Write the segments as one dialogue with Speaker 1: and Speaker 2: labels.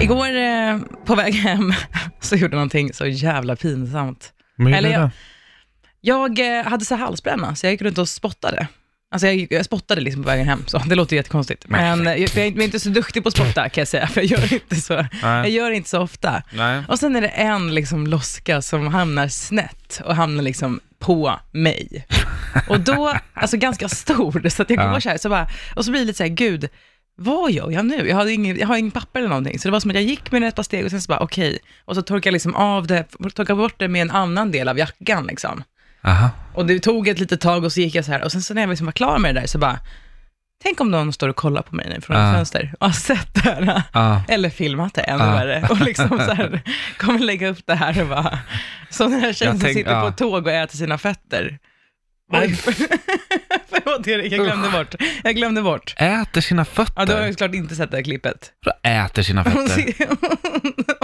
Speaker 1: Igår eh, på väg hem så gjorde jag någonting så jävla pinsamt.
Speaker 2: Men
Speaker 1: Eller
Speaker 2: Eller
Speaker 1: jag-
Speaker 2: jag...
Speaker 1: Jag eh, hade så här halsbränna, så jag gick runt och spottade. Alltså jag, gick- jag spottade liksom på vägen hem, så det låter jättekonstigt. Men eh, jag, för jag är inte- jag är inte så duktig på att spotta kan jag säga, för jag gör inte så, jag gör inte så ofta.
Speaker 2: Nej.
Speaker 1: Och sen är det en liksom loska som hamnar snett och hamnar liksom på mig. Och då, alltså ganska stor, så att jag
Speaker 2: Ja.
Speaker 1: går så här, så bara, och så blir det lite så här, gud, vad gör jag nu? Jag har ingen, jag har ingen papper eller någonting. Så det var som att jag gick med ett par steg och sen så bara, okej. Och så torkade jag liksom av det, torkade bort det med en annan del av jackan liksom.
Speaker 2: Aha.
Speaker 1: Och det tog ett litet tag och så gick jag så här. Och sen så när jag liksom var klar med det där så bara, tänk om någon står och kollar på mig nu från ett
Speaker 2: Ja.
Speaker 1: fönster och har sett det här.
Speaker 2: Ja.
Speaker 1: Eller filmat det ännu
Speaker 2: Ja.
Speaker 1: värre och liksom så här, kommer lägga upp det här och bara, som den här tjejen
Speaker 2: Jag
Speaker 1: som
Speaker 2: tänk-
Speaker 1: sitter på
Speaker 2: ja.
Speaker 1: ett tåg och äter sina fötter. Oj, förlåt Erik, jag glömde bort. Jag glömde bort.
Speaker 2: Ah. Äter sina
Speaker 1: Ja, du har ju
Speaker 2: fötter.
Speaker 1: såklart inte sett det här klippet.
Speaker 2: Ja, Äter sina
Speaker 1: Hon
Speaker 2: fötter.
Speaker 1: sitter...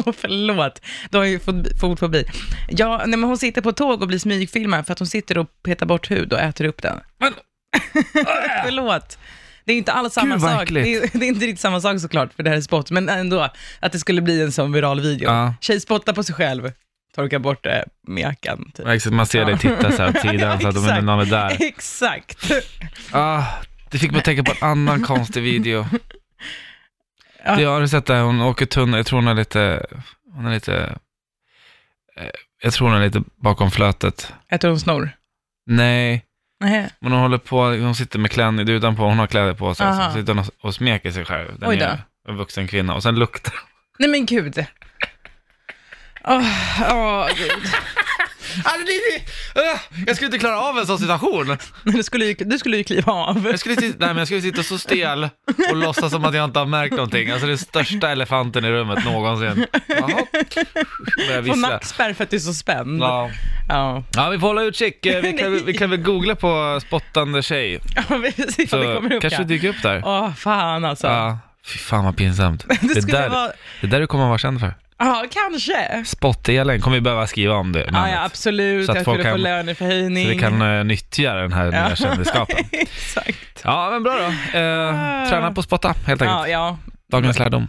Speaker 1: Åh, förlåt, du har ju fot- fotfobi. Ja, nej, men hon sitter på tåg och blir smygfilmad för att hon sitter och petar bort hud och äter upp den.
Speaker 2: Men-
Speaker 1: förlåt. Det är inte alls samma
Speaker 2: Gud, vad
Speaker 1: sak. Det är,
Speaker 2: äckligt.
Speaker 1: det är inte riktigt samma sak såklart, för det här är spott, men ändå att det skulle bli en sån viral video.
Speaker 2: Ja.
Speaker 1: Tjej spottar på sig själv, torkar bort det med jackan. Typ.
Speaker 2: Ja, exakt, Man ser dig titta så här åt sidan så att de undrar
Speaker 1: Exakt.
Speaker 2: någon är där.
Speaker 1: Exakt.
Speaker 2: Ah, det fick mig att tänka på en annan konstig video.
Speaker 1: Ja.
Speaker 2: Det har du sett där hon åker tunnel, jag tror hon är lite, hon är lite, eh, jag tror hon är lite bakom flötet.
Speaker 1: Äter hon snor?
Speaker 2: Nej,
Speaker 1: Nej.
Speaker 2: men hon håller på, hon sitter med kläder utanpå, hon har kläder på sig,
Speaker 1: Aha.
Speaker 2: så hon sitter och, och smeker sig själv. Den
Speaker 1: Oj
Speaker 2: Oj
Speaker 1: då.
Speaker 2: då. En vuxen kvinna och sen luktar
Speaker 1: Nej men gud. Åh, åh, gud.
Speaker 2: alltså, det, det, öh, Jag skulle inte klara av en sån situation.
Speaker 1: Nej, Du skulle, ju, du skulle ju kliva av.
Speaker 2: Jag skulle, sitta, nej, men jag skulle sitta så stel och låtsas som att jag inte har märkt någonting. Alltså den största elefanten i rummet någonsin. Jaha, börjar
Speaker 1: Få
Speaker 2: vissla.
Speaker 1: nackspärr för att du är så spänd. Ja.
Speaker 2: Ja. ja, vi får hålla utkik. Eh, Vi kan, väl- vi kan väl googla på spottande tjej.
Speaker 1: Ja, vi får se
Speaker 2: Så
Speaker 1: om det kommer upp
Speaker 2: kanske
Speaker 1: ja.
Speaker 2: det dyker upp där.
Speaker 1: Åh, fan alltså. Ja,
Speaker 2: Ja. Fy fan vad pinsamt.
Speaker 1: det
Speaker 2: Det,
Speaker 1: skulle
Speaker 2: där,
Speaker 1: vara...
Speaker 2: det där du kommer vara känd för.
Speaker 1: Ja, kanske.
Speaker 2: Spott-Elin kommer vi behöva skriva om det.
Speaker 1: Ja,
Speaker 2: namnet.
Speaker 1: ja, absolut.
Speaker 2: Så att
Speaker 1: Jag
Speaker 2: folk
Speaker 1: skulle få
Speaker 2: kan-
Speaker 1: löneförhöjning.
Speaker 2: Så vi kan eh, nyttja den här
Speaker 1: Ja.
Speaker 2: nya kändisskapen.
Speaker 1: Exakt.
Speaker 2: Ja, men bra då. Eh, träna på att spotta helt enkelt.
Speaker 1: Ja, ja.
Speaker 2: Dagens lärdom.